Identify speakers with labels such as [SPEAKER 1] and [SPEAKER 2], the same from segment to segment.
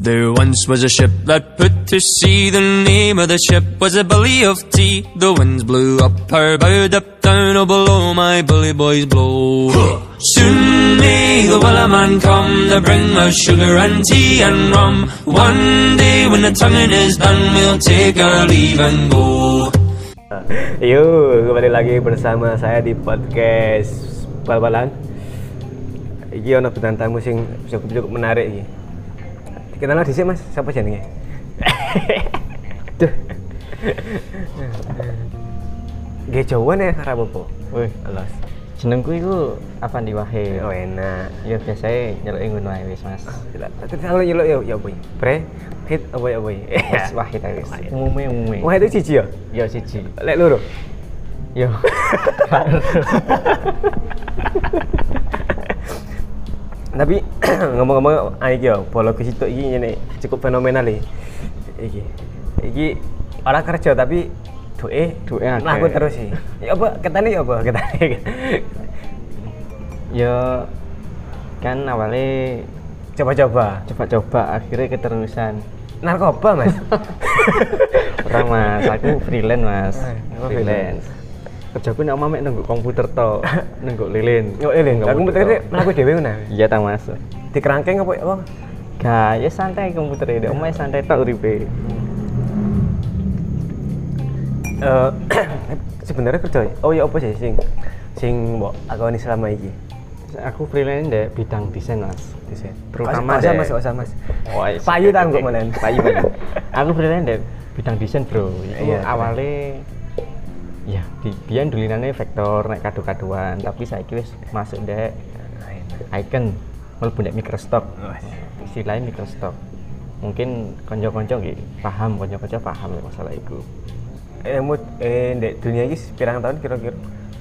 [SPEAKER 1] Once was a ship that put to sea. The name of the ship was a belly of tea. The winds blew up her bow, up down, oh below my bully boys blow. Soon may the willow man come to bring us sugar and tea and rum. One day when the tonguing is done, we'll take our leave and go.
[SPEAKER 2] Yuk, kembali lagi bersama saya di podcast Bal-balan. Iki ono bintang tamu sing cukup-cukup menarik iki. Dikenalah dhisik Mas, siapa jenenge? Duh. Nggih Jawa nih ora apa-apa.
[SPEAKER 3] Wih,
[SPEAKER 2] Alas.
[SPEAKER 3] jenengku iku apa di wahe?
[SPEAKER 2] Oh enak.
[SPEAKER 3] Ya biasanya nyeluk ngono ae wis, Mas.
[SPEAKER 2] Terus kalau nyeluk ya ya boy. Bre, hit apa ya boy?
[SPEAKER 3] Wis wahid ae wis. Umume umume.
[SPEAKER 2] Wah itu cici ya?
[SPEAKER 3] Ya siji.
[SPEAKER 2] Lek loro.
[SPEAKER 3] Yo.
[SPEAKER 2] Tapi ngomong-ngomong ah, iki ya, boloku situ iki ngene cukup fenomenal iki. Iki. Iki orang kerja tapi duwe
[SPEAKER 3] Duwe akeh.
[SPEAKER 2] mlaku terus sih. Ya apa ketane ya apa ketane.
[SPEAKER 3] Yo kan awalnya
[SPEAKER 2] Coba-coba.
[SPEAKER 3] coba-coba akhirnya keterusan.
[SPEAKER 2] Narkoba, Mas.
[SPEAKER 3] Ora Mas, aku freelance Mas.
[SPEAKER 2] apa freelance?
[SPEAKER 3] Eh, freelance. Kerjaku nek omamek nunggu komputer to, nunggu lilin.
[SPEAKER 2] Yo eleng, aku
[SPEAKER 3] tok.
[SPEAKER 2] muter mlaku dhewe ngono.
[SPEAKER 3] Iya ta Mas.
[SPEAKER 2] Di kerangkeng apa apa?
[SPEAKER 3] Gak, ya santai komputer ya, omae santai tok uripe.
[SPEAKER 2] Eh sebenarnya kerja. Oh ya apa sih sing sing mbok akoni selama iki?
[SPEAKER 3] Aku freelance di bidang desain Mas.
[SPEAKER 2] Desain.
[SPEAKER 3] Terutama
[SPEAKER 2] Gak usah,
[SPEAKER 3] deh.
[SPEAKER 2] Mas, gak usah, Mas.
[SPEAKER 3] Oh, iya.
[SPEAKER 2] Payu tak nggak malan?
[SPEAKER 3] Payu. payu. aku freelance di bidang desain, Bro. Itu
[SPEAKER 2] Iya.
[SPEAKER 3] awalnya ya di biyen dulinane vektor nek kado-kadoan, tapi saiki wis masuk dek icon mlebu ndek microstock. Istilahnya microstock. Mungkin konco-konco nggih paham, konco-konco paham nek masalah iku.
[SPEAKER 2] Eh mut eh ndek dunia iki pirang tahun kira-kira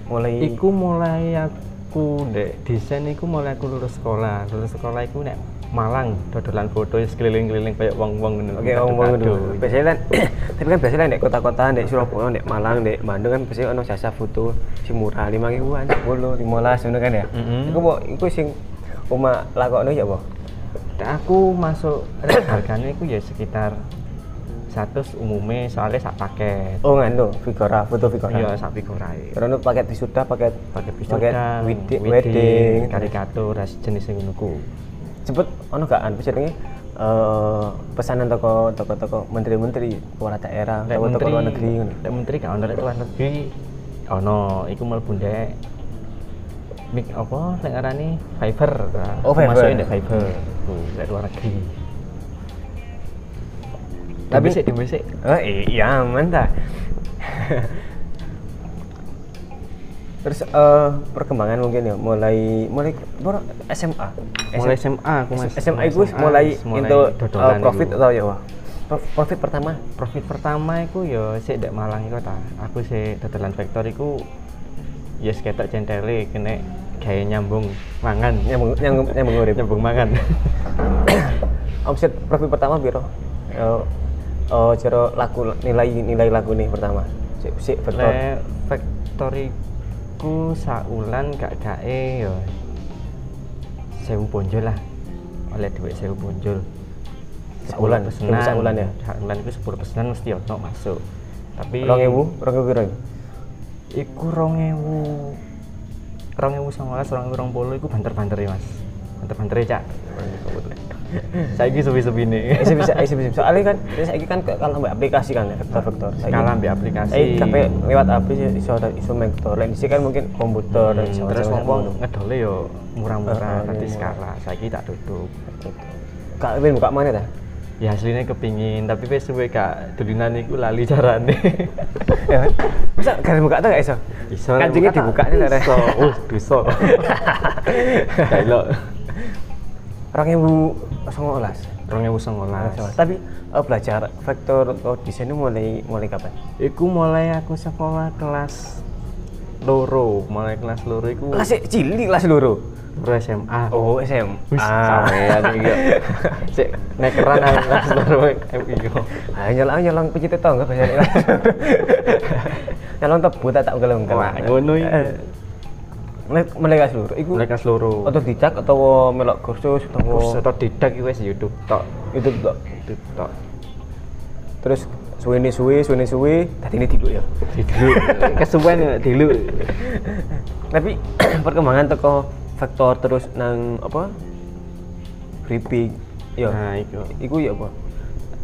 [SPEAKER 2] mulai
[SPEAKER 3] Iku mulai aku ndek desain iku mulai aku lulus sekolah. Lulus sekolah iku nek Malang dodolan foto wis keliling-keliling kayak wong-wong ngono.
[SPEAKER 2] Oke, ngomong ngomong dulu.
[SPEAKER 3] iya.
[SPEAKER 2] Biasanya kan, tapi kan biasanya nek kota-kota, nek Surabaya, nek Malang, nek Bandung kan biasanya ono jasa foto si murah lima ribuan, sepuluh, lima belas, ngono kan ya.
[SPEAKER 3] Mhm.
[SPEAKER 2] Iku mau, iku sing oma lakokno ya boh.
[SPEAKER 3] aku masuk harganya iku ya sekitar 100 umumnya soalnya sak paket.
[SPEAKER 2] Oh nganu, figura, foto figura.
[SPEAKER 3] Iya, sak figurai.
[SPEAKER 2] Karena paket wisuda, paket
[SPEAKER 3] Pakai
[SPEAKER 2] paket
[SPEAKER 3] pistol,
[SPEAKER 2] widi- wedding,
[SPEAKER 3] kan, karikatur, ras jenis yang ngono ku.
[SPEAKER 2] Cepet ono gak anu jenenge eh pesanan toko toko-toko menteri-menteri kepala daerah,
[SPEAKER 3] Lek
[SPEAKER 2] toko-toko luar negeri ngono.
[SPEAKER 3] lek menteri gak ono lek luar negeri ono iku mlebu ndek mik apa lek ngarani Fiverr. Nah,
[SPEAKER 2] Oh,
[SPEAKER 3] aku
[SPEAKER 2] Fiverr.
[SPEAKER 3] Masukin ndek Fiverr. Ku lek luar negeri. Tapi sik dibesik.
[SPEAKER 2] Oh iya mantap. Terus eh, perkembangan mungkin ya mulai mulai bro, SMA.
[SPEAKER 3] Mulai SMA aku Mas.
[SPEAKER 2] SMA itu mulai itu eh,
[SPEAKER 3] dodolan
[SPEAKER 2] profit
[SPEAKER 3] iku.
[SPEAKER 2] atau ya wah. Prof- Profit pertama.
[SPEAKER 3] profit pertama iku ya sik ndek Malang iku ta. Aku sik dodolan vektor iku ya yes, ketok centele kene gawe nyambung mangan.
[SPEAKER 2] Nyambung- nyambung- nyambung urip.
[SPEAKER 3] Nyambung mangan.
[SPEAKER 2] Omset profit pertama biro. Eh eh, cara laku nilai nilai laku nih pertama. Sik sik betul.
[SPEAKER 3] Le factoryku saulan gak gae yo. Sewu bonjol lah. Oleh dhuwit sewu bonjol.
[SPEAKER 2] Saulan,
[SPEAKER 3] pesenan.
[SPEAKER 2] dhuwit saulan ya?
[SPEAKER 3] Saulan iku 10 pesenan mesti ono masuk. Tapi
[SPEAKER 2] 2000, 2000 biro.
[SPEAKER 3] iku 2000 2019 2020 iku banter-banter ya, Mas. Banter-banter ya, Cak. Saiki sepi-sepine.
[SPEAKER 2] Eh, Bisa bisa bisa bisa. Soalnya kan saya kan ke- kalau mbak aplikasi kan ya, vektor-vektor. Saiki-
[SPEAKER 3] Kalah ambil aplikasi.
[SPEAKER 2] Eh, tapi lewat aplikasi iso iso mentor. Lain sih kan mungkin komputer
[SPEAKER 3] Hmm,
[SPEAKER 2] iso
[SPEAKER 3] terus
[SPEAKER 2] macam-macam
[SPEAKER 3] ngomong
[SPEAKER 2] ngono.
[SPEAKER 3] ngedole yo murah-murah
[SPEAKER 2] Eh, eh,
[SPEAKER 3] tapi
[SPEAKER 2] murah.
[SPEAKER 3] skala saiki tak tutup.
[SPEAKER 2] Kak Win buka mana ta?
[SPEAKER 3] Ya aslinya kepingin, tapi wis suwe kak dulinan iku lali carane.
[SPEAKER 2] Ya. Masa kalian buka ta gak iso?
[SPEAKER 3] Kan
[SPEAKER 2] kan Kancingnya dibuka nih lah.
[SPEAKER 3] Iso, uh, duso. Kailo.
[SPEAKER 2] Orangnya bu songolas.
[SPEAKER 3] 2019.
[SPEAKER 2] Tapi eh, belajar vektor atau desain itu mulai mulai kapan?
[SPEAKER 3] Iku mulai aku sekolah kelas loro, mulai kelas loro iku
[SPEAKER 2] Kelas cilik kelas loro.
[SPEAKER 3] loro SMA.
[SPEAKER 2] Oh SM.
[SPEAKER 3] wis
[SPEAKER 2] ya,
[SPEAKER 3] sampean iki. Sik nek keran aku kelas loro MI yo.
[SPEAKER 2] Ah nyolong nyolong pencet tangga biasanya. Nyolong tebu tak tak gelem
[SPEAKER 3] Eh, Wah, ngono iki.
[SPEAKER 2] Melek melek seluruh. Iku
[SPEAKER 3] mereka seluruh
[SPEAKER 2] atau dicak atau melok kursus
[SPEAKER 3] kursus
[SPEAKER 2] atau
[SPEAKER 3] atau didak itu wes YouTube tok
[SPEAKER 2] itu tok.
[SPEAKER 3] YouTube tok
[SPEAKER 2] Terus suwene suwe suwene suwe tadi ini dulu ya.
[SPEAKER 3] dulu kesuwen ya, dulu
[SPEAKER 2] Tapi perkembangan teko faktor terus nang apa? Gripping. Iya. Yo.
[SPEAKER 3] nah itu
[SPEAKER 2] Iku ya apa?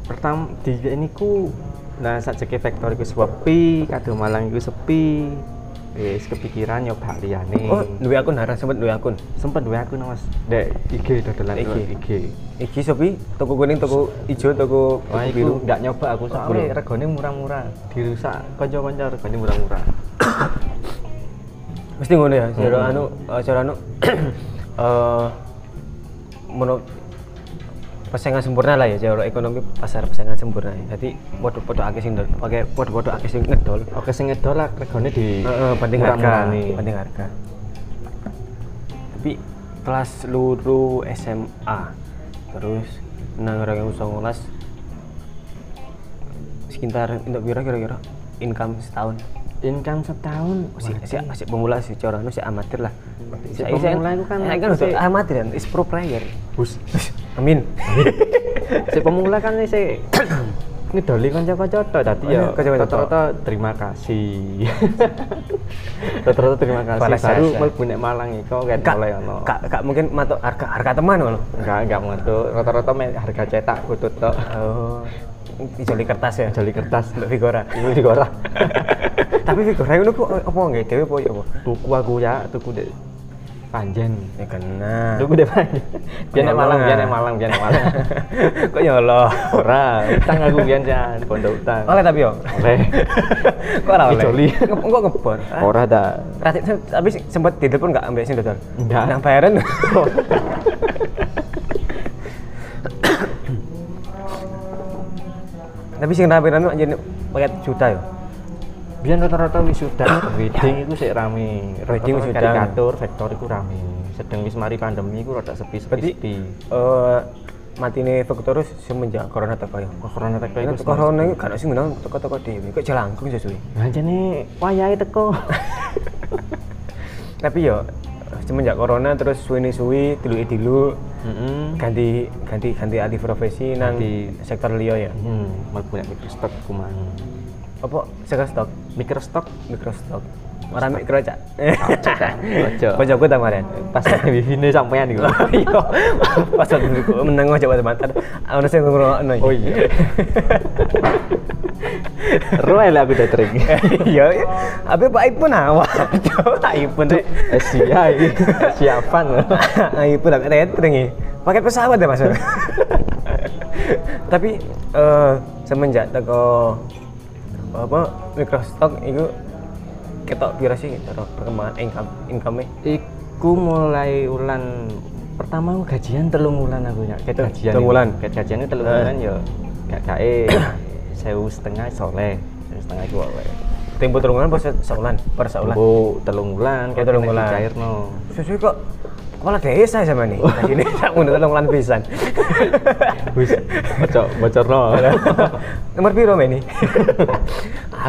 [SPEAKER 3] pertama di ini ku nah sajeke vektor iku sepi kadung malang iku sepi wis kepikiran nyoba liyane
[SPEAKER 2] Oh, duwe akun haran sempet duwe akun.
[SPEAKER 3] sempet duwe aku mas dek IG dodolan
[SPEAKER 2] IG.
[SPEAKER 3] IG IG
[SPEAKER 2] Iki sopi, toko kuning, toko ijo, toko,
[SPEAKER 3] Wah,
[SPEAKER 2] toko biru.
[SPEAKER 3] biru ndak nyoba aku soalnya regane murah-murah dirusak kanca-kanca regane murah-murah
[SPEAKER 2] Mesti ngono ya, cara
[SPEAKER 3] Hmm.
[SPEAKER 2] anu, eh, cara anu eh menurut persaingan sempurna lah ya, cara ekonomi pasar persaingan sempurna. ya. Jadi podo-podo akeh sing ndol- pakai podo-podo akeh sing ngedol.
[SPEAKER 3] oke sing ngedol lah regane di
[SPEAKER 2] Eh, eh, penting harga,
[SPEAKER 3] murah-murahne.
[SPEAKER 2] penting harga. Tapi kelas luru SMA terus nang orang yang kelas sekitar untuk biro kira-kira income setahun
[SPEAKER 3] income setahun
[SPEAKER 2] si si si pemula si cara anu si amatir lah si
[SPEAKER 3] pemula iku kan
[SPEAKER 2] kan
[SPEAKER 3] si-
[SPEAKER 2] untuk amatir kan is pro player
[SPEAKER 3] bus
[SPEAKER 2] amin
[SPEAKER 3] si pemula kan si ngedoli kanca-kanca tok tadi
[SPEAKER 2] Iya,
[SPEAKER 3] ya
[SPEAKER 2] kanca-kanca tok.
[SPEAKER 3] rata-rata terima kasih rata-rata terima kasih
[SPEAKER 2] Balas
[SPEAKER 3] baru
[SPEAKER 2] jasa.
[SPEAKER 3] mlebu nek Malang iku kan
[SPEAKER 2] kak
[SPEAKER 3] mulai ono
[SPEAKER 2] kak kak mungkin matok harga harga teman loh
[SPEAKER 3] enggak enggak mengatur rata-rata main harga cetak kutut tok
[SPEAKER 2] oh dijoli kertas ya
[SPEAKER 3] jali kertas Iya,
[SPEAKER 2] untuk figura
[SPEAKER 3] itu di korak
[SPEAKER 2] tapi figura itu kok apa nggak dewi apa ya apa
[SPEAKER 3] tuku aku ya tuku dek panjen
[SPEAKER 2] ya kena
[SPEAKER 3] tuku dek panjen biar nek Malang biar nek Malang biar nek Malang
[SPEAKER 2] kok nyolong
[SPEAKER 3] ora utang aku biar jan pondok utang
[SPEAKER 2] oleh tapi yo
[SPEAKER 3] oleh
[SPEAKER 2] kok ora oleh
[SPEAKER 3] Dijoli.
[SPEAKER 2] Nge- kok ngebon Ah,
[SPEAKER 3] ora dah
[SPEAKER 2] Ratit se- tapi se- sempet ditelepon nggak ambil sing dodol?
[SPEAKER 3] Nggak.
[SPEAKER 2] Nang bayaran. tapi sing rame-rame anjen paket juta yo.
[SPEAKER 3] Biar rata-rata wisuda, wedding itu sih rame.
[SPEAKER 2] Wedding
[SPEAKER 3] Wedding
[SPEAKER 2] wisuda.
[SPEAKER 3] wisuda. Karikatur, vektor itu rame. Sedang wis mari pandemi itu rada
[SPEAKER 2] Berarti
[SPEAKER 3] sepi-sepi.
[SPEAKER 2] eh matine Vektorus semenjak corona teko yo.
[SPEAKER 3] Wah, corona teko
[SPEAKER 2] Ini
[SPEAKER 3] itu.
[SPEAKER 2] teko corona iki gak ada sing menang teko-teko dhewe. Kok jelangkung sesuai.
[SPEAKER 3] Anjane wayahe teko.
[SPEAKER 2] Tapi yo semenjak corona terus suwi suwi diluki dilu
[SPEAKER 3] Heeh.
[SPEAKER 2] ganti ganti ganti alih profesi nang
[SPEAKER 3] Ganti.
[SPEAKER 2] sektor liya ya.
[SPEAKER 3] Hmm, mau punya microstock ku mang.
[SPEAKER 2] Apa sektor stok?
[SPEAKER 3] Microstock
[SPEAKER 2] Microstock. Orang mikro cak.
[SPEAKER 3] Ojo.
[SPEAKER 2] Ojo aku tamaran.
[SPEAKER 3] pas wifi-ne sampean iku.
[SPEAKER 2] Yo, pas aku dulu menang ojo pada mata. Ono sing ngrungokno.
[SPEAKER 3] Oh iya. Roel aku udah tering.
[SPEAKER 2] Yo, abe Pak Ipun awak. Pak Ipun rek.
[SPEAKER 3] eh, Sia iki. Siapan.
[SPEAKER 2] Ipun dak retring eh. Pakai pesawat ya Mas. Tapi eh semenjak teko apa Microstock itu ketok pira sih ketok perkembangan income income-nya?
[SPEAKER 3] Iku mulai ulan pertama aku gajian telung wulan aku ya. Ket
[SPEAKER 2] Tel-
[SPEAKER 3] gajian.
[SPEAKER 2] telung wulan?
[SPEAKER 3] Ket gajian itu telung
[SPEAKER 2] Eh.
[SPEAKER 3] wulan ya. Gak gae sewu setengah soleh. Sewu setengah iku oleh.
[SPEAKER 2] Tempo terungan pas saulan, per saulan.
[SPEAKER 3] Bu telung wulan
[SPEAKER 2] Oh, telung wulan.
[SPEAKER 3] cairno.
[SPEAKER 2] Susu kok kepala desa ya sama nih. Tadi ini tak mundur tolong lan pisan.
[SPEAKER 3] Wis bocor bocorno.
[SPEAKER 2] Nomor piro ini?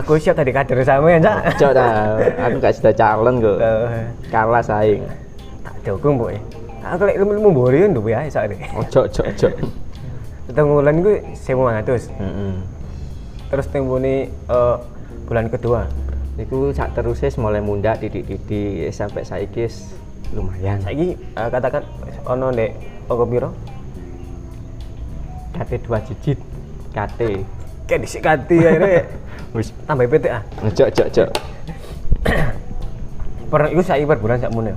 [SPEAKER 2] Aku siap tadi kader sama ya, Cak.
[SPEAKER 3] Bocor dah. Aku gak sudah calon kok.
[SPEAKER 2] Eh,
[SPEAKER 3] Kalah saing.
[SPEAKER 2] Tak dukung, Bu. Aku lek ilmu mbori nduwe ae sak iki.
[SPEAKER 3] Ojo ojo ojo.
[SPEAKER 2] Tengulan ku 1500.
[SPEAKER 3] Heeh.
[SPEAKER 2] Terus tembune eh bulan kedua.
[SPEAKER 3] Iku sak terusnya mulai mundak titik-titik sampai saiki wis lumayan.
[SPEAKER 2] Saiki eh, katakan ono ndek Ogo piro?
[SPEAKER 3] KT 2 digit. KT.
[SPEAKER 2] Kayak disikati akhirnya
[SPEAKER 3] Wis
[SPEAKER 2] tambah ah. PTA.
[SPEAKER 3] Cok, cok, cok.
[SPEAKER 2] Per iku saiki per bulan sak mun ya.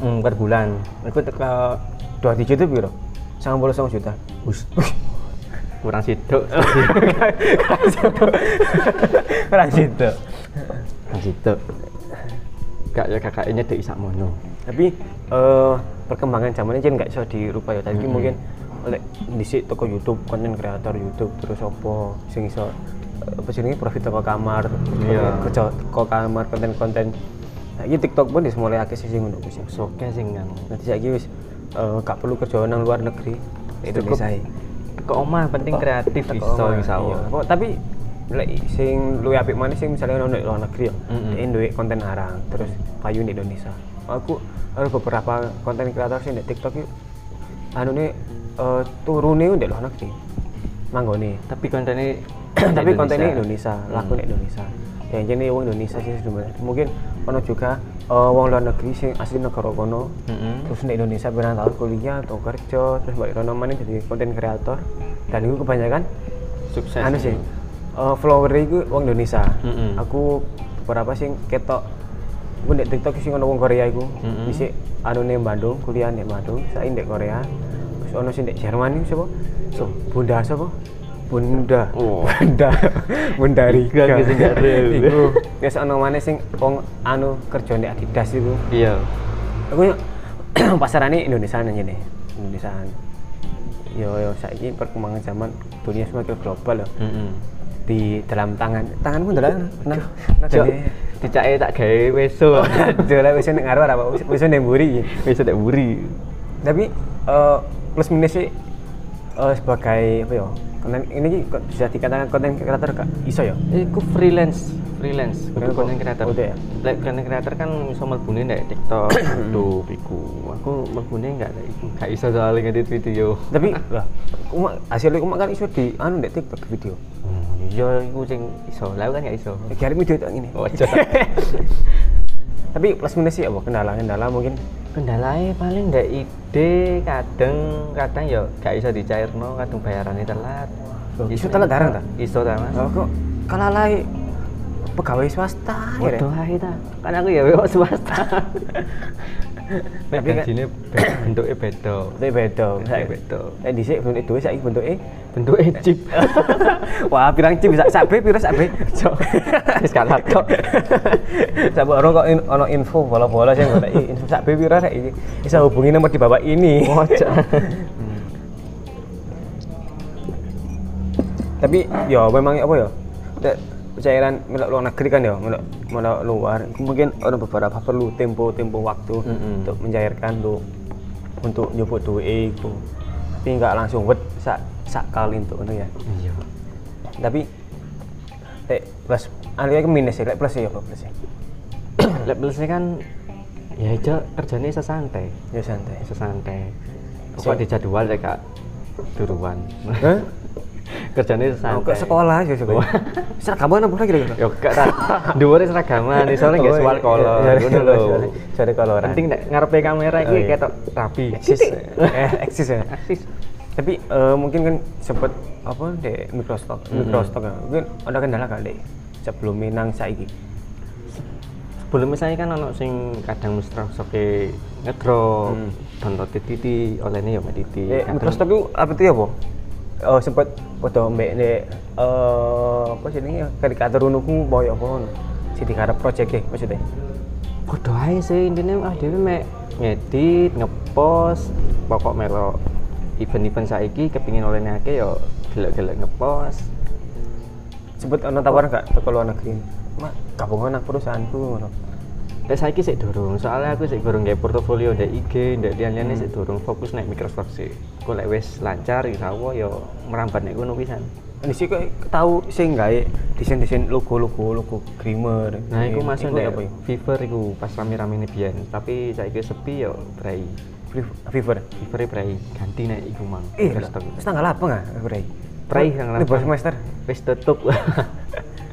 [SPEAKER 3] Mm, per bulan. Aku teko
[SPEAKER 2] eh, Dua digit itu piro? 99 juta.
[SPEAKER 3] Us. kurang sidok.
[SPEAKER 2] Kurang situ.
[SPEAKER 3] kurang sidok. Gak Gitu. ya kakaknya dek isak mono.
[SPEAKER 2] Tapi eh, perkembangan zamannya jadi nggak bisa dirupa ya. Tadi mungkin oleh disi toko YouTube, konten kreator YouTube terus opo sing iso eh, apa jenenge profit toko kamar,
[SPEAKER 3] Iya.
[SPEAKER 2] kerja toko kamar konten-konten. Saiki TikTok pun wis mulai akeh sih sing ngono kuwi sih.
[SPEAKER 3] Soke sing kan.
[SPEAKER 2] Nanti saiki wis eh, gak perlu kerja nang luar negeri. Indonesia. iki.
[SPEAKER 3] Teko omah penting kreatif
[SPEAKER 2] Teko
[SPEAKER 3] iso
[SPEAKER 2] omah,
[SPEAKER 3] iso.
[SPEAKER 2] iya. Apa- tapi lek sing luwih apik mana sing misalnya ono di luar negeri ya.
[SPEAKER 3] Mm-mm.
[SPEAKER 2] Dhewe duwe konten arang terus payu di Indonesia. aku ada beberapa konten kreator sih di TikTok itu anu nih eh turune ndek lono iki. Manggone.
[SPEAKER 3] tapi kontennya
[SPEAKER 2] Tapi
[SPEAKER 3] Indonesia.
[SPEAKER 2] kontennya Indonesia, lagu nek Indonesia. Ya jadi wong Indonesia sih sebenarnya. Mungkin ono juga eh, wong luar negeri sing asli negara kono.
[SPEAKER 3] Mm-mm.
[SPEAKER 2] Terus di Indonesia berang tahun kuliah atau kerja, terus balik kono mana jadi konten kreator. Dan itu kebanyakan
[SPEAKER 3] sukses
[SPEAKER 2] anu sih eh, follower itu wong Indonesia
[SPEAKER 3] Mm-mm.
[SPEAKER 2] aku beberapa sih ketok aku di TikTok sih ngono wong Korea iku
[SPEAKER 3] Mm-mm.
[SPEAKER 2] Isik anu nih Bandung kuliah nih Bandung saya di Korea terus ono sih di Jerman ini siapa so Bunda siapa Bunda
[SPEAKER 3] Oh.
[SPEAKER 2] Bunda Bunda Riga
[SPEAKER 3] Iku aku sih nggak tahu.
[SPEAKER 2] Iku. terus ono mana sih wong anu kerja di Adidas itu
[SPEAKER 3] iya
[SPEAKER 2] aku pasaran ini Indonesia aja nih Indonesia yo yo saiki perkembangan zaman dunia semakin global loh
[SPEAKER 3] Mm-mm.
[SPEAKER 2] di dalam tangan tanganmu dalam nah nah
[SPEAKER 3] Cok,
[SPEAKER 2] jadi
[SPEAKER 3] dicake tak gawe weso
[SPEAKER 2] jualan bisa nek ngaruh apa bisa nek mburi.
[SPEAKER 3] weso tak buri
[SPEAKER 2] tapi eh, plus minus sih eh, sebagai apa ya konten ini ki kok bisa dikatakan konten kreator gak iso ya
[SPEAKER 3] Iku freelance, freelance.
[SPEAKER 2] Kenapa?
[SPEAKER 3] Kudu konten kreator.
[SPEAKER 2] Udah ya?
[SPEAKER 3] Lek konten kreator kan iso mlebune nek TikTok, YouTube iku. Aku mlebune enggak nek iku. Enggak iso soalnya ngedit video.
[SPEAKER 2] tapi lah kumak hasilnya kumak kan iso di anu di tiktok video
[SPEAKER 3] Hmm, iya iku sing iso. Lah aku kan enggak iso.
[SPEAKER 2] Kayak video tak gini
[SPEAKER 3] Ojo.
[SPEAKER 2] tapi plus minus sih apa kendala kendala mungkin
[SPEAKER 3] Kendalae paling ndak ide kadang kadang ya gak iso dicairno, kadang bayarane telat. Oh,
[SPEAKER 2] Loh, iso telat barang ta?
[SPEAKER 3] Iso ta, Mas.
[SPEAKER 2] Lah, Oh, iya. kok kalalai pegawai swasta ya
[SPEAKER 3] Waduh ae ta. Kan aku ya wewak swasta. Nek
[SPEAKER 2] Tapi kan-
[SPEAKER 3] gajine be- bentuke beda.
[SPEAKER 2] bentuknya beda
[SPEAKER 3] Bentuknya beda.
[SPEAKER 2] eh di sini bentuknya duit saya bentuknya
[SPEAKER 3] Bentuke chip.
[SPEAKER 2] wah pirang cip bisa sabe pirang sabe
[SPEAKER 3] Cok. Wis kalah, Cok.
[SPEAKER 2] sabe orang kok in, ono info bola bola sih nggak info sabe pirang saya ini bisa hubungi nomor di bawah ini
[SPEAKER 3] Oh, Cok.
[SPEAKER 2] tapi ya memang apa ya Te- cairan melok luar negeri kan ya melok melok luar mungkin orang beberapa perlu tempo tempo waktu
[SPEAKER 3] Mm-mm.
[SPEAKER 2] untuk mencairkan untuk untuk nyebut duit itu tapi nggak langsung wet sak sak kali untuk itu ya
[SPEAKER 3] Iya.
[SPEAKER 2] tapi lek plus anu ya ke minus ya lek plus ya apa plus ya
[SPEAKER 3] Lek plusnya kan ya aja kerjanya iso santai,
[SPEAKER 2] ya santai
[SPEAKER 3] iso santai.
[SPEAKER 2] Cok.
[SPEAKER 3] Pokok di jadwal ya Kak. Turuan.
[SPEAKER 2] Hah?
[SPEAKER 3] kerjanya iso
[SPEAKER 2] Aku
[SPEAKER 3] santai.
[SPEAKER 2] ke sekolah aja sekolah. Seragaman apa lagi ya. kira-kira?
[SPEAKER 3] Ya gak ta. Dhuwure seragaman, isone gak sual kolor. Ngono lho.
[SPEAKER 2] ya, Sore kolor.
[SPEAKER 3] iya, Penting nek ngarepe kamera
[SPEAKER 2] Oh,
[SPEAKER 3] iki
[SPEAKER 2] iya.
[SPEAKER 3] ketok rapi.
[SPEAKER 2] eksis. Eh, eksis ya.
[SPEAKER 3] Eksis.
[SPEAKER 2] Tapi eh, mungkin kan sempet apa deh mikrostock, mikrostock ya. Mungkin ada kendala gak deh sebelum minang saiki.
[SPEAKER 3] Sebelum saya kan ono sing kadang mesra soke ngedrop,
[SPEAKER 2] Hmm.
[SPEAKER 3] download titi, olehnya ya mbak titi.
[SPEAKER 2] Eh,
[SPEAKER 3] Kadang-
[SPEAKER 2] mikrostock itu apa itu ya, Bu? Oh, sempet foto mbek nek eh apa jenenge karikatur nuku boyo apa ngono. Sing digarap project e maksudnya.
[SPEAKER 3] Podo ae sih intine ah dhewe mek ngedit, ngepost, pokok melo event-event saiki kepingin olehne akeh ya gelek-gelek ngepost.
[SPEAKER 2] Sempet ono tawaran gak ke luar negeri? Mak, gabungan aku perusahaanku ngono.
[SPEAKER 3] Tapi saiki sik dorong, soalnya aku sik gorong gawe portofolio ndek IG, ndek liyan-liyane sik dorong fokus nek Microsoft sih. Kok lek wis lancar insyaallah ya merambat nek ngono pisan.
[SPEAKER 2] Di sini kok tahu sih nggak ya desain-desain logo-logo logo Grimer.
[SPEAKER 3] Nah, iku
[SPEAKER 2] Ini,
[SPEAKER 3] masuk
[SPEAKER 2] iku
[SPEAKER 3] ndek
[SPEAKER 2] apa ya?
[SPEAKER 3] Fever iku pas rame-ramene biyen, tapi saiki sepi ya brai.
[SPEAKER 2] Fever- Fever.
[SPEAKER 3] Fever brai ganti nek iku mang.
[SPEAKER 2] Eh,
[SPEAKER 3] Microsoft.
[SPEAKER 2] terus tanggal apa nggak, Bray?
[SPEAKER 3] Brai yang
[SPEAKER 2] Ini baru semester.
[SPEAKER 3] wis tutup.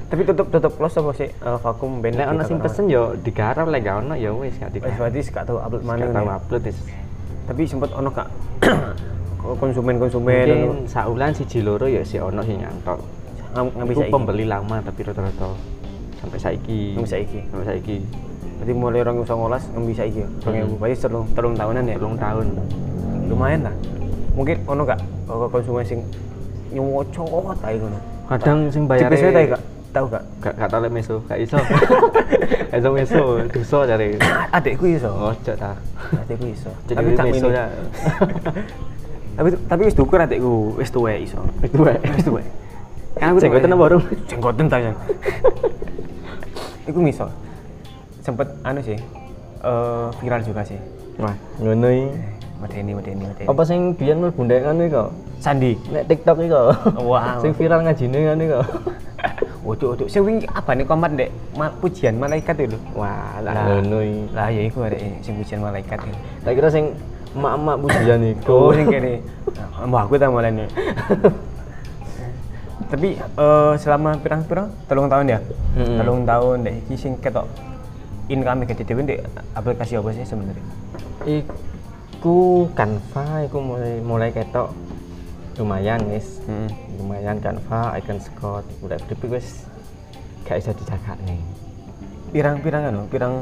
[SPEAKER 2] Tapi tutup tutup close apa sih eh, vakum band?
[SPEAKER 3] Nek ono sing pesen yo digarap lek gak ono ya wis gak
[SPEAKER 2] Wes
[SPEAKER 3] digarap.
[SPEAKER 2] berarti gak tahu upload mana
[SPEAKER 3] Gak
[SPEAKER 2] nih.
[SPEAKER 3] tau upload wis.
[SPEAKER 2] Tapi sempet ono kak konsumen-konsumen ngono.
[SPEAKER 3] Mungkin saulan siji loro ya si ono sing nyantor.
[SPEAKER 2] Ngam- ngambil
[SPEAKER 3] Iku
[SPEAKER 2] saiki.
[SPEAKER 3] pembeli lama tapi rata-rata sampai saiki.
[SPEAKER 2] Ngambil saiki.
[SPEAKER 3] Sampai saiki.
[SPEAKER 2] Berarti mulai orang usah ngolas ngambil saiki. Bang
[SPEAKER 3] Hmm.
[SPEAKER 2] Ibu berarti telung telung tahunan ya.
[SPEAKER 3] Telung tahun.
[SPEAKER 2] Lumayan lah. Mungkin ono kak eh, konsumen sing nyowo cowok tai ngono.
[SPEAKER 3] Kadang sing
[SPEAKER 2] Bayar.
[SPEAKER 3] bayare
[SPEAKER 2] tai kak? Tahu kak?
[SPEAKER 3] Gak gak tau lek meso, gak iso. Gak iso meso, dosa jare.
[SPEAKER 2] Adekku iso.
[SPEAKER 3] Ngocok ta.
[SPEAKER 2] adekku iso
[SPEAKER 3] Jadi
[SPEAKER 2] tapi tak
[SPEAKER 3] meso
[SPEAKER 2] mini
[SPEAKER 3] ya.
[SPEAKER 2] tapi tapi wis dukur adekku wis tuwek iso
[SPEAKER 3] Wis tuwek.
[SPEAKER 2] wis tuwek kan
[SPEAKER 3] Jenggotan apa urung?
[SPEAKER 2] jenggoten ta Yang. iku miso sempet anu sih eh viral juga sih
[SPEAKER 3] Wah, ngono iki.
[SPEAKER 2] medeni medeni medeni
[SPEAKER 3] Apa sing biyen mlebu ndek ngono iki kok?
[SPEAKER 2] sandi
[SPEAKER 3] Nek TikTok iki kok.
[SPEAKER 2] Wow.
[SPEAKER 3] Sing viral ngajine ngono iki kok.
[SPEAKER 2] Waduh, waduh, sing wingi apa nih komat dek? Ma, pujian malaikat itu. Wah, lah.
[SPEAKER 3] Ngono iki.
[SPEAKER 2] Lah ya iku arek sing pujian malaikat. iki.
[SPEAKER 3] Tak kira sing emak-emak pujian iku.
[SPEAKER 2] Oh, sing kene. Mbah aku ta mulane. Tapi eh, selama pirang-pirang telung tahun ya.
[SPEAKER 3] Mm-mm.
[SPEAKER 2] Telung tahun dek iki sing ketok income gede dhewe dek aplikasi apa sih sebenarnya?
[SPEAKER 3] Iku Canva iku mulai mulai ketok lumayan wis.
[SPEAKER 2] Hmm.
[SPEAKER 3] Lumayan Canva, Icon Scott, udah grafik wis gak bisa dijaga nih.
[SPEAKER 2] Pirang-pirang kan, pirang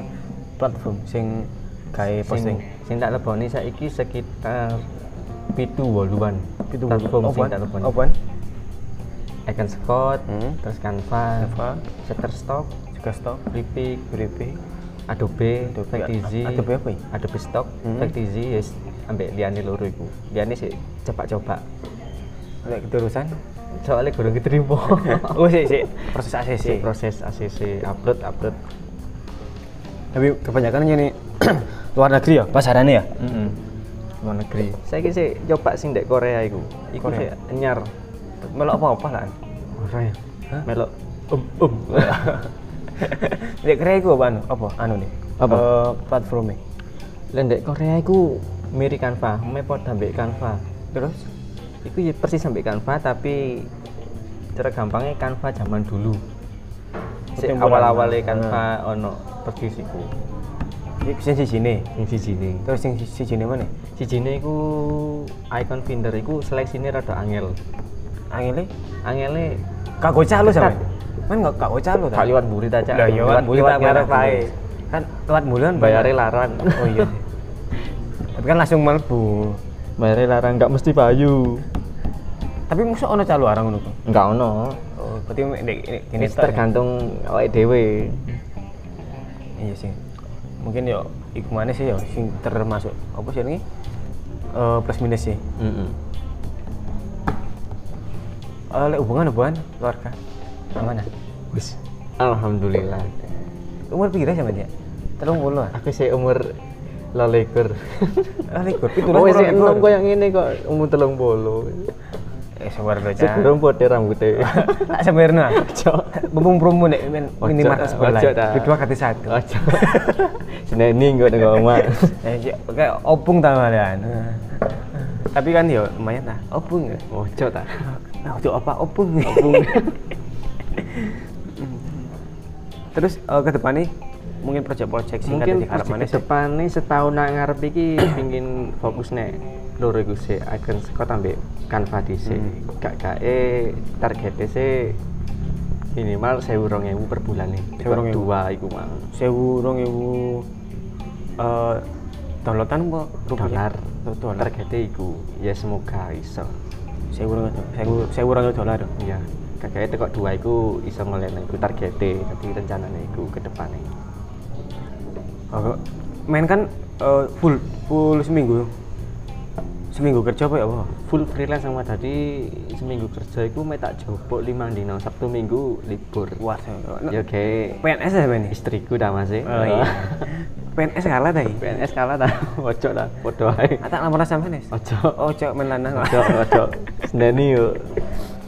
[SPEAKER 2] platform sing gawe posting.
[SPEAKER 3] Posting. Sing tak leboni saiki sekitar pitu woluan.
[SPEAKER 2] Pitu
[SPEAKER 3] platform sing
[SPEAKER 2] open,
[SPEAKER 3] tak leboni.
[SPEAKER 2] open,
[SPEAKER 3] Icon Scott,
[SPEAKER 2] Hmm.
[SPEAKER 3] terus Canva,
[SPEAKER 2] Canva.
[SPEAKER 3] Shutterstock,
[SPEAKER 2] juga stop,
[SPEAKER 3] Gripik,
[SPEAKER 2] Beripi,
[SPEAKER 3] Adobe,
[SPEAKER 2] Adobe,
[SPEAKER 3] Factizi,
[SPEAKER 2] A- Adobe apa ya?
[SPEAKER 3] Adobe Stock,
[SPEAKER 2] Hmm.
[SPEAKER 3] Factizi, yes, ambek liane loro iku. Liane sih coba-coba.
[SPEAKER 2] lek keterusan.
[SPEAKER 3] Soalnya kurang keterima.
[SPEAKER 2] Oh, sik sik proses ACC.
[SPEAKER 3] Si proses ACC upload upload.
[SPEAKER 2] Tapi kebanyakan ini luar negeri ya, pasarannya ya.
[SPEAKER 3] Mm
[SPEAKER 2] Luar negeri.
[SPEAKER 3] Saya sih coba sing dek Korea iku. Iku
[SPEAKER 2] Korea?
[SPEAKER 3] sih anyar.
[SPEAKER 2] Melok apa-apa lah.
[SPEAKER 3] Korea.
[SPEAKER 2] Hah?
[SPEAKER 3] Melok um um.
[SPEAKER 2] Lek kira iku apa anu? Apa anu nih?
[SPEAKER 3] Apa?
[SPEAKER 2] Eh, platformnya.
[SPEAKER 3] Lah dek Korea iku mirip Canva, mepot ambek Canva. Terus iku ya persis ambek Canva tapi cara gampangnya Canva zaman dulu. Si
[SPEAKER 2] Ketimbulan.
[SPEAKER 3] awal-awalnya Canva ono persis iku.
[SPEAKER 2] Iki sing siji nih.
[SPEAKER 3] Sing sijine.
[SPEAKER 2] Terus sing siji nih mana?
[SPEAKER 3] Sijine iku icon finder iku seleksine rada angel.
[SPEAKER 2] Angele
[SPEAKER 3] Angele
[SPEAKER 2] kak gocah lu sama.
[SPEAKER 3] Ketat.
[SPEAKER 2] Kan gak kak gocah lu
[SPEAKER 3] gak liwat burit aja.
[SPEAKER 2] Lah yo kan bulan ngarep ae. Kan lewat bulan
[SPEAKER 3] Bayarnya larang.
[SPEAKER 2] Oh iya. sih. Tapi kan langsung melbu.
[SPEAKER 3] Bayarnya larang nggak mesti payu.
[SPEAKER 2] Tapi musuh ono calo arang ngono kok.
[SPEAKER 3] Nggak ono.
[SPEAKER 2] Oh, berarti nek nek-
[SPEAKER 3] Ini
[SPEAKER 2] kene tok ya?
[SPEAKER 3] tergantung awake dhewe.
[SPEAKER 2] Iya sih. Mungkin yo iku mana sih yo sing termasuk apa sih ini? Eh plus minus sih.
[SPEAKER 3] Heeh.
[SPEAKER 2] Eh lek hubungan hubungan keluarga. Gimana?
[SPEAKER 3] Wis. Alhamdulillah.
[SPEAKER 2] Umur pira sama dia? Telung puluh.
[SPEAKER 3] Aku sih umur lalikur.
[SPEAKER 2] Ah likur pitu
[SPEAKER 3] Oh, sih enom kok yang ini kok umur telung bolo.
[SPEAKER 2] Eh sabar lo cah.
[SPEAKER 3] Segurung putih rambutnya.
[SPEAKER 2] Tak semirna. Bumbung promo nek men
[SPEAKER 3] Ojo,
[SPEAKER 2] minimarket sebelah.
[SPEAKER 3] ojo dah.
[SPEAKER 2] Kedua kati satu.
[SPEAKER 3] Aja. Seneni kok nego oma.
[SPEAKER 2] Eh ya, kayak opung tambahan.
[SPEAKER 3] Hmm.
[SPEAKER 2] Tapi kan yo lumayan lah. Opung. ya.
[SPEAKER 3] Ojo ta.
[SPEAKER 2] Nah, untuk apa opung? Opung. Terus eh, ke depan nih mungkin proyek-proyek singkat
[SPEAKER 3] Mungkin
[SPEAKER 2] yang diharap
[SPEAKER 3] ke
[SPEAKER 2] mana sih?
[SPEAKER 3] depan nih setahun nak ngarep iki pingin fokus nih loro iku sih icon Scott ambek Canva dhisik. Gak gae targete sih minimal 1200 per bulan nih.
[SPEAKER 2] 1.000.
[SPEAKER 3] Dua iku mang.
[SPEAKER 2] Sewu rong ewu eh, downloadan apa rupiah?
[SPEAKER 3] dolar
[SPEAKER 2] Do- Dolar.
[SPEAKER 3] targetnya iku ya semoga iso
[SPEAKER 2] Sewu rong sewu sewu rong ewu Oh, dolar.
[SPEAKER 3] ya kakaknya tekok dua iku iso ngelihat iku targetnya nanti rencananya iku ke depannya
[SPEAKER 2] Aku main kan eh, full full seminggu. Seminggu kerja apa ya apa?
[SPEAKER 3] full freelance sama tadi seminggu kerja iku mek tak jopo lima dino sabtu minggu libur
[SPEAKER 2] Wah, sewu-
[SPEAKER 3] ya oke
[SPEAKER 2] PNS ya ini?
[SPEAKER 3] istriku ya? dah masih
[SPEAKER 2] Oh iya. PNS kalah Ah, tadi.
[SPEAKER 3] PNS kalah ta ojo lah podo ae
[SPEAKER 2] Atak laporan sama nih.
[SPEAKER 3] ojo
[SPEAKER 2] Oh, cok main lanang.
[SPEAKER 3] ojo ojo seneni yo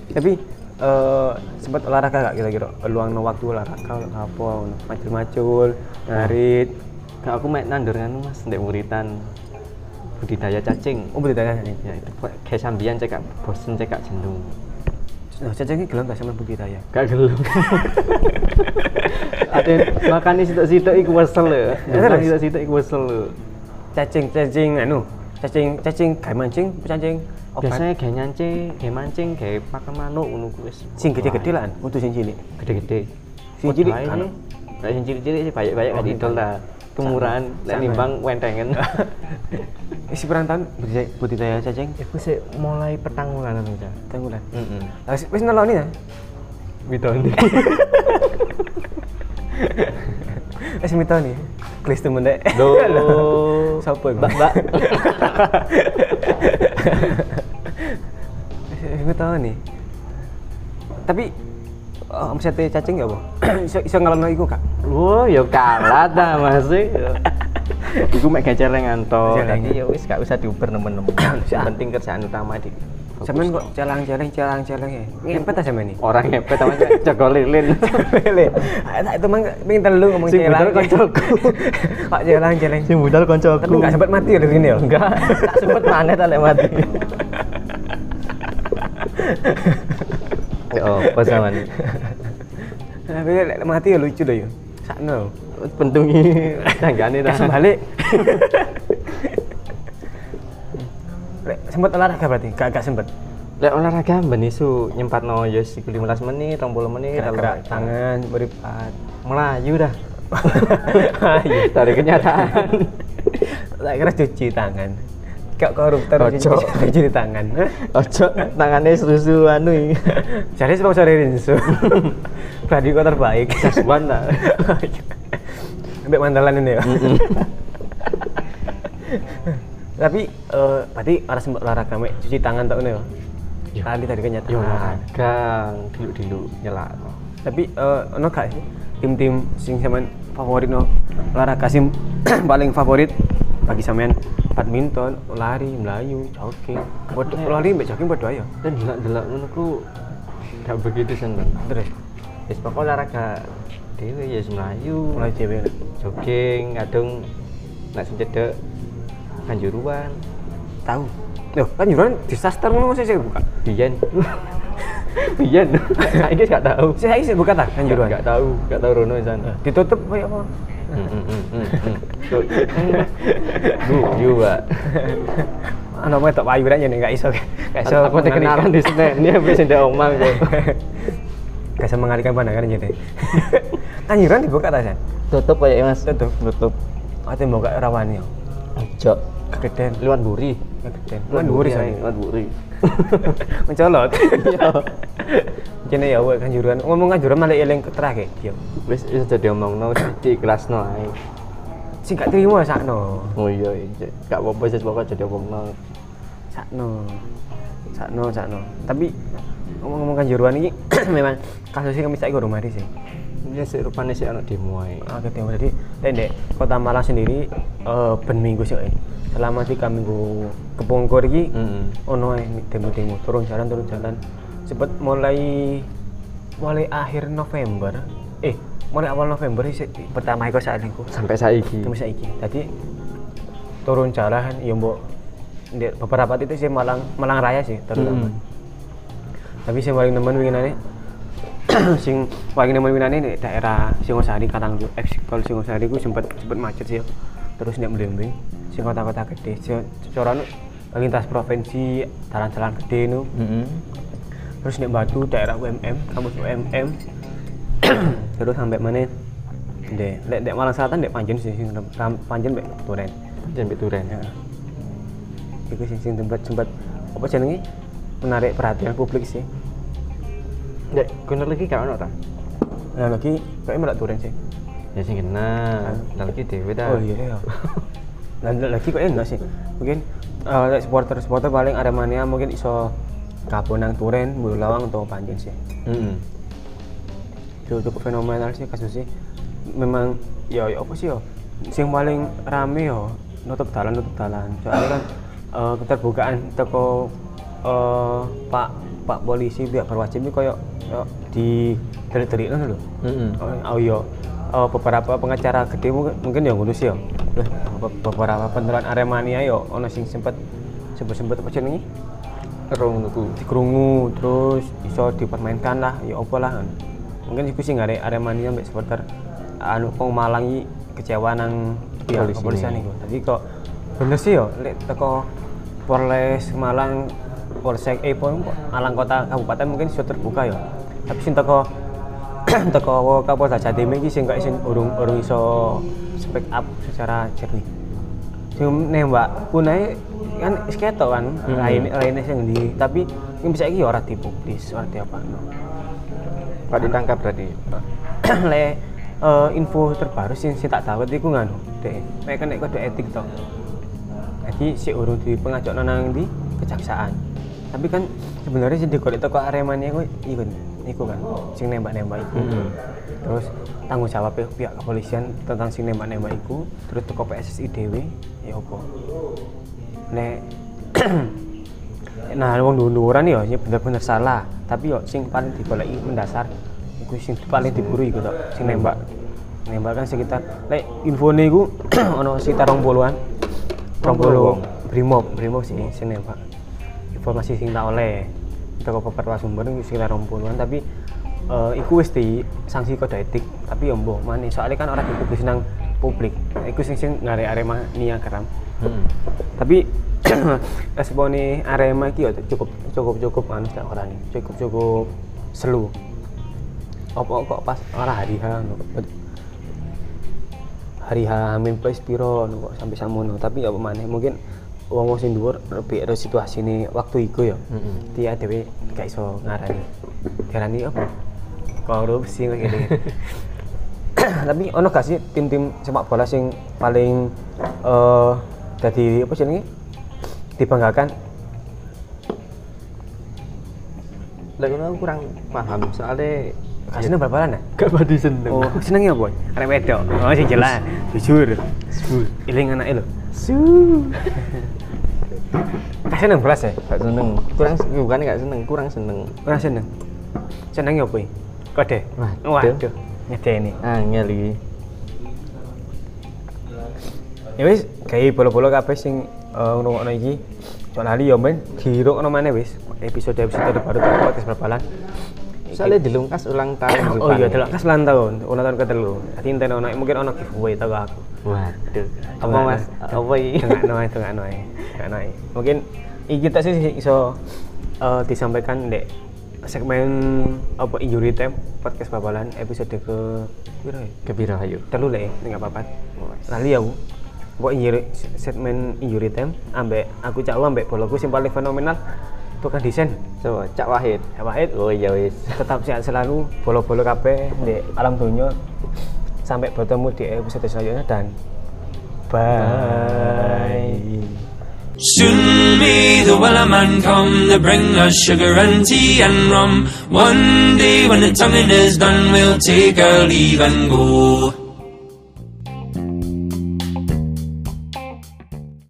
[SPEAKER 2] tapi eh sempat olahraga gak kira-kira luang no waktu olahraga apa ngono. macul-macul ngarit
[SPEAKER 3] Kak, aku mek nandur kan mas ndek muritan budidaya cacing
[SPEAKER 2] oh betul tanya nih
[SPEAKER 3] ya itu Pak. kayak sambian cekak bosen cekak jenuh
[SPEAKER 2] nah caca ini gelem gak sama Bu Gita ya
[SPEAKER 3] gak gelem ada yang makan di situ-situ iku wesel ya makan di situ-situ iku wesel ya. lho.
[SPEAKER 2] cacing cacing anu cacing cacing gak mancing cacing obat
[SPEAKER 3] biasanya kayak nyancing kayak mancing kayak pakai manuk ngono ku wis
[SPEAKER 2] sing gede-gede lah untuk sing cilik
[SPEAKER 3] gede-gede
[SPEAKER 2] Sing cilik
[SPEAKER 3] Wadah
[SPEAKER 2] kan?
[SPEAKER 3] ini. Lah, sing cilik-cilik sih banyak-banyak kan idol lah kemuran lek
[SPEAKER 2] Sama.
[SPEAKER 3] nimbang kan. wentengen
[SPEAKER 2] isi perang tahun budidaya- budidaya cacing
[SPEAKER 3] iku sih mulai petang bulan aja
[SPEAKER 2] tanggulan
[SPEAKER 3] heeh
[SPEAKER 2] Lah wis- wis neloni ya
[SPEAKER 3] bidoni
[SPEAKER 2] wis mitoni klis temen dek
[SPEAKER 3] do
[SPEAKER 2] Sopo iku?
[SPEAKER 3] mbak
[SPEAKER 2] Aku tahu nih. Tapi oh, omsetnya cacing gak, Bu? iso iso ngelono iku, Kak.
[SPEAKER 3] Wah, ya kalah ta Mas. Iku mek gecereng anto.
[SPEAKER 2] Gecereng.
[SPEAKER 3] iya, gitu. Dadi ya wis gak usah diuber nemen-nemen. Yang penting kerjaan utama di
[SPEAKER 2] Sampean kok celang-celeng celang-celeng ya. Ngempet aja sampean ini.
[SPEAKER 3] orang ngepet sama jago lilin
[SPEAKER 2] Lele. Tak teman pengen telu ngomong
[SPEAKER 3] Sing
[SPEAKER 2] celang.
[SPEAKER 3] bener koncoku.
[SPEAKER 2] Kok celang-celeng.
[SPEAKER 3] sing budal
[SPEAKER 2] Tapi
[SPEAKER 3] koncoku
[SPEAKER 2] enggak sempat mati ya dari sini ya.
[SPEAKER 3] enggak tak sempet maneh tak lek mati oh pas sama nih
[SPEAKER 2] Tapi lek mati ya lucu loh ya. Sakno.
[SPEAKER 3] pentungi tanggane dah
[SPEAKER 2] Langsung balik. Lek sempat olahraga berarti? Enggak enggak sempat.
[SPEAKER 3] lek olahraga ben isu nyempatno ya sik 15 menit 30 menit
[SPEAKER 2] Iya, Gerak
[SPEAKER 3] kalau-
[SPEAKER 2] tangan, ah, beripat.
[SPEAKER 3] melayu dah dari kenyataan
[SPEAKER 2] Tak kira cuci tangan. Kok koruptor
[SPEAKER 3] Ojo.
[SPEAKER 2] cuci, cuci tangan. eh?
[SPEAKER 3] ojo tangannya susu anu iki.
[SPEAKER 2] Jadi sponsor Rinsu. Berarti kok terbaik.
[SPEAKER 3] Kasuan lah
[SPEAKER 2] Sampai mandalan ini ya. Tapi eh berarti harus sempat olahraga mek cuci tangan tak ini ya.
[SPEAKER 3] Ya.
[SPEAKER 2] Tadi tadi kenyataan.
[SPEAKER 3] yo olahraga diluk-diluk nyelak
[SPEAKER 2] Tapi eh ono gak sih tim-tim sing sampean favorit no olahraga sing paling favorit bagi sampean badminton, lari, melayu, jogging. Bodoh, lari mbek jogging bodoh ayo.
[SPEAKER 3] dan delak-delak ngono ku gak begitu seneng
[SPEAKER 2] Terus
[SPEAKER 3] wis pokok olahraga dhewe ya wis melayu
[SPEAKER 2] mulai dhewe.
[SPEAKER 3] jogging kadung nek sing cedek kanjuruan
[SPEAKER 2] Tahu. Loh, kan juruan disaster ngono masih sih buka.
[SPEAKER 3] biyen biyen saiki wis gak tau
[SPEAKER 2] Saya sih buka tak kan juruan.
[SPEAKER 3] gak tau gak tau rono Hmm, di sana
[SPEAKER 2] Ditutup kayak apa?
[SPEAKER 3] Guyu, Pak.
[SPEAKER 2] Anak mau tak payu aja nih, gak iso, gak iso.
[SPEAKER 3] Aku tak kenalan di Senen, ini habis ndak omah kok.
[SPEAKER 2] Gak bisa mengalihkan pandangan jadi. Kan juruan dibuka tak sih?
[SPEAKER 3] Tutup kayak Mas.
[SPEAKER 2] Tutup. Oh,
[SPEAKER 3] Tutup.
[SPEAKER 2] Atau buka rawannya?
[SPEAKER 3] Jok.
[SPEAKER 2] Kegedean,
[SPEAKER 3] Luan buri.
[SPEAKER 2] kegedean. Kan duri
[SPEAKER 3] ya,
[SPEAKER 2] soalnya.
[SPEAKER 3] Luan buri.
[SPEAKER 2] mencolot
[SPEAKER 3] Iya.
[SPEAKER 2] jadi ya awak kanjuruan ngomong kanjuruan malah ya eling terakhir dia
[SPEAKER 3] Wis wis jadi omongno di kelasno ae.
[SPEAKER 2] sih gak terima sakno
[SPEAKER 3] Oh iya, iya. gak apa-apa sih pokoknya jadi omongno.
[SPEAKER 2] sakno sakno sakno tapi ngomong-ngomong kanjuruan ini memang kasusnya kami saya rumah di sih
[SPEAKER 3] Ini sih rupanya sih anak demo ae.
[SPEAKER 2] oke tengok jadi tendek kota Malang sendiri eh ben minggu sih eh. selama tiga minggu kepungkur ini
[SPEAKER 3] Heeh.
[SPEAKER 2] ono eh demo-demo turun jalan turun jalan sempat mulai mulai akhir November eh mulai awal November sih pertama itu saat itu
[SPEAKER 3] Sampai saiki.
[SPEAKER 2] Kamis saiki. Tadi turun jalan ya mbok ndek beberapa titik sih Malang Malang Raya sih terutama.
[SPEAKER 3] Mm.
[SPEAKER 2] Tapi sing paling nemen winginane sing paling nemen winginane di daerah Singosari Karang eksikol Singosari ku sempat sempat macet sih. Terus ndek Mlembing sing kota-kota gede se- secara nu lintas provinsi jalan-jalan gede nu
[SPEAKER 3] Heeh.
[SPEAKER 2] terus nek Batu daerah UMM kampus UMM terus sampai mana dek dek dek Malang Selatan dek Panjen sih sing tem- ram- Panjen dek Turen
[SPEAKER 3] Jan Bituren.
[SPEAKER 2] ya itu sih sing tempat sempat apa jenenge menarik perhatian publik sih
[SPEAKER 3] Nek kono lagi gak ono ta?
[SPEAKER 2] nah lagi kayaknya malah Turen sih
[SPEAKER 3] Ya sing kena. Lah iki dhewe ta.
[SPEAKER 2] oh iya ya nah ndak lagi kok enak sih mungkin eh, lek supporter supporter paling Aremania mungkin iso Kabonang Turen Bulu Lawang atau Panjen sih
[SPEAKER 3] Heeh.
[SPEAKER 2] Yo, cukup fenomenal sih kasusnya memang ya ya apa sih ya yang paling rame yo nutup dalan nutup dalan soalnya kan eh, keterbukaan teko eh, pak pak polisi pihak berwajib ini koyo yo, di dari dari lho
[SPEAKER 3] Heeh.
[SPEAKER 2] oh, oh iya Eh, beberapa pengacara gede mungkin, mungkin ya ngurus ya Lah, be- beberapa penelan aremania yo ono sing sempet sempet sempet apa jenenge
[SPEAKER 3] Rong nuku.
[SPEAKER 2] dikerungu terus iso dipermainkan lah ya apa lah mungkin itu sih nggak ada aremania mbak supporter anu kong malang iki kecewa nang pihak
[SPEAKER 3] Polisi.
[SPEAKER 2] kepolisian itu tapi kok bener sih yo lek teko Polres Malang Polsek eh pun Malang kota kabupaten mungkin sudah terbuka ya tapi sing teko teko Kapolda Jatim iki sing gak sing urung urung iso speak up secara jernih sing nembak punai kan sketo kan lain lainnya sing di tapi yang bisa iki ya ora dipublis ora diapa
[SPEAKER 3] Pak ditangkap berarti.
[SPEAKER 2] le eh, info terbaru sih sih tak tahu itu nganu deh mereka naik kode etik toh jadi si urung di pengajak nang di kejaksaan tapi kan sebenarnya sih di kode toko aremania gue ikut iku kan sing nembak nembak iku terus tanggung jawab pihak, pihak kepolisian tentang sing nembak nembak iku terus toko PSSI dewe ya opo nek nah wong ndunuran ya ya bener-bener salah tapi yo sing paling dibaleki mendasar iku sing paling diburu iku tok sing nembak nembak kan sekitar lek infone iku ono sekitar 20-an 20 brimob brimob sih sing nembak informasi sing tak oleh teko peperwa sumber iku sekitar 20-an tapi eh, iku wis di sanksi kode etik tapi yo mbuh maneh soalnya kan orang dipublis nang publik iku sing sing ngarek arema nia keram tapi responnya Arema iki ya cukup cukup cukup anu tak ora nih cukup cukup selu apa kok pas ora hari H anu, bet- hari H Amin plus piro anu kok sampai samono tapi ya apa maneh mungkin wong wong sing dhuwur lebih ero situasi ini waktu iku ya dia dhewe gak iso ngarani diarani apa korupsi kok gini tapi ono gak sih tim-tim sepak bola sing paling eh jadi apa sih ini dibanggakan
[SPEAKER 3] Lah ngono aku kurang paham soalnya
[SPEAKER 2] kasihnya bal balan ya
[SPEAKER 3] gak padu seneng.
[SPEAKER 2] oh seneng ya boy arek wedok oh sing jelas jujur iling anake lho
[SPEAKER 3] Su.
[SPEAKER 2] kasihnya belas ya
[SPEAKER 3] Gak seneng. Kurang bukan gak seneng, kurang seneng.
[SPEAKER 2] ora seneng seneng ya boy kode
[SPEAKER 3] Waduh.
[SPEAKER 2] waduh ngedeni
[SPEAKER 3] Angel iki.
[SPEAKER 2] ya wis gawe bola-bola kabeh sing eh, ngrungokno iki soal lali ya men dirungokno maneh wis episode episode terbaru tentang podcast bal balan
[SPEAKER 3] Soalnya dilungkas ulang tahun
[SPEAKER 2] Oh iya,
[SPEAKER 3] rupanya.
[SPEAKER 2] delok kas ulang tahun, ulang tahun ke telu. Jadi enten ono mungkin ono giveaway tau ke aku.
[SPEAKER 3] Waduh. Apa Mas? Apa iki?
[SPEAKER 2] Tengah noai, tengah noai, tengah noai. Mungkin iki tak sih iso eh, disampaikan dek segmen apa injury time podcast babalan episode ke piro ya?
[SPEAKER 3] Kepiro ayo.
[SPEAKER 2] Telu lek, enggak apa-apa. Lali ya, Bu. Pokok injury segmen injury time ambek aku cak Wu, ambek boloku sing paling fenomenal tukang desain.
[SPEAKER 3] Coba Cak Wahid.
[SPEAKER 2] Ya Wahid,
[SPEAKER 3] Oh iya wis.
[SPEAKER 2] tetap sehat selalu bolo-bolo kabeh di alam dunia sampai bertemu di episode selanjutnya dan bye.
[SPEAKER 1] Soon may the weller man come to bring us sugar and tea and rum. One day when the tonguing is done, we'll take our leave and go.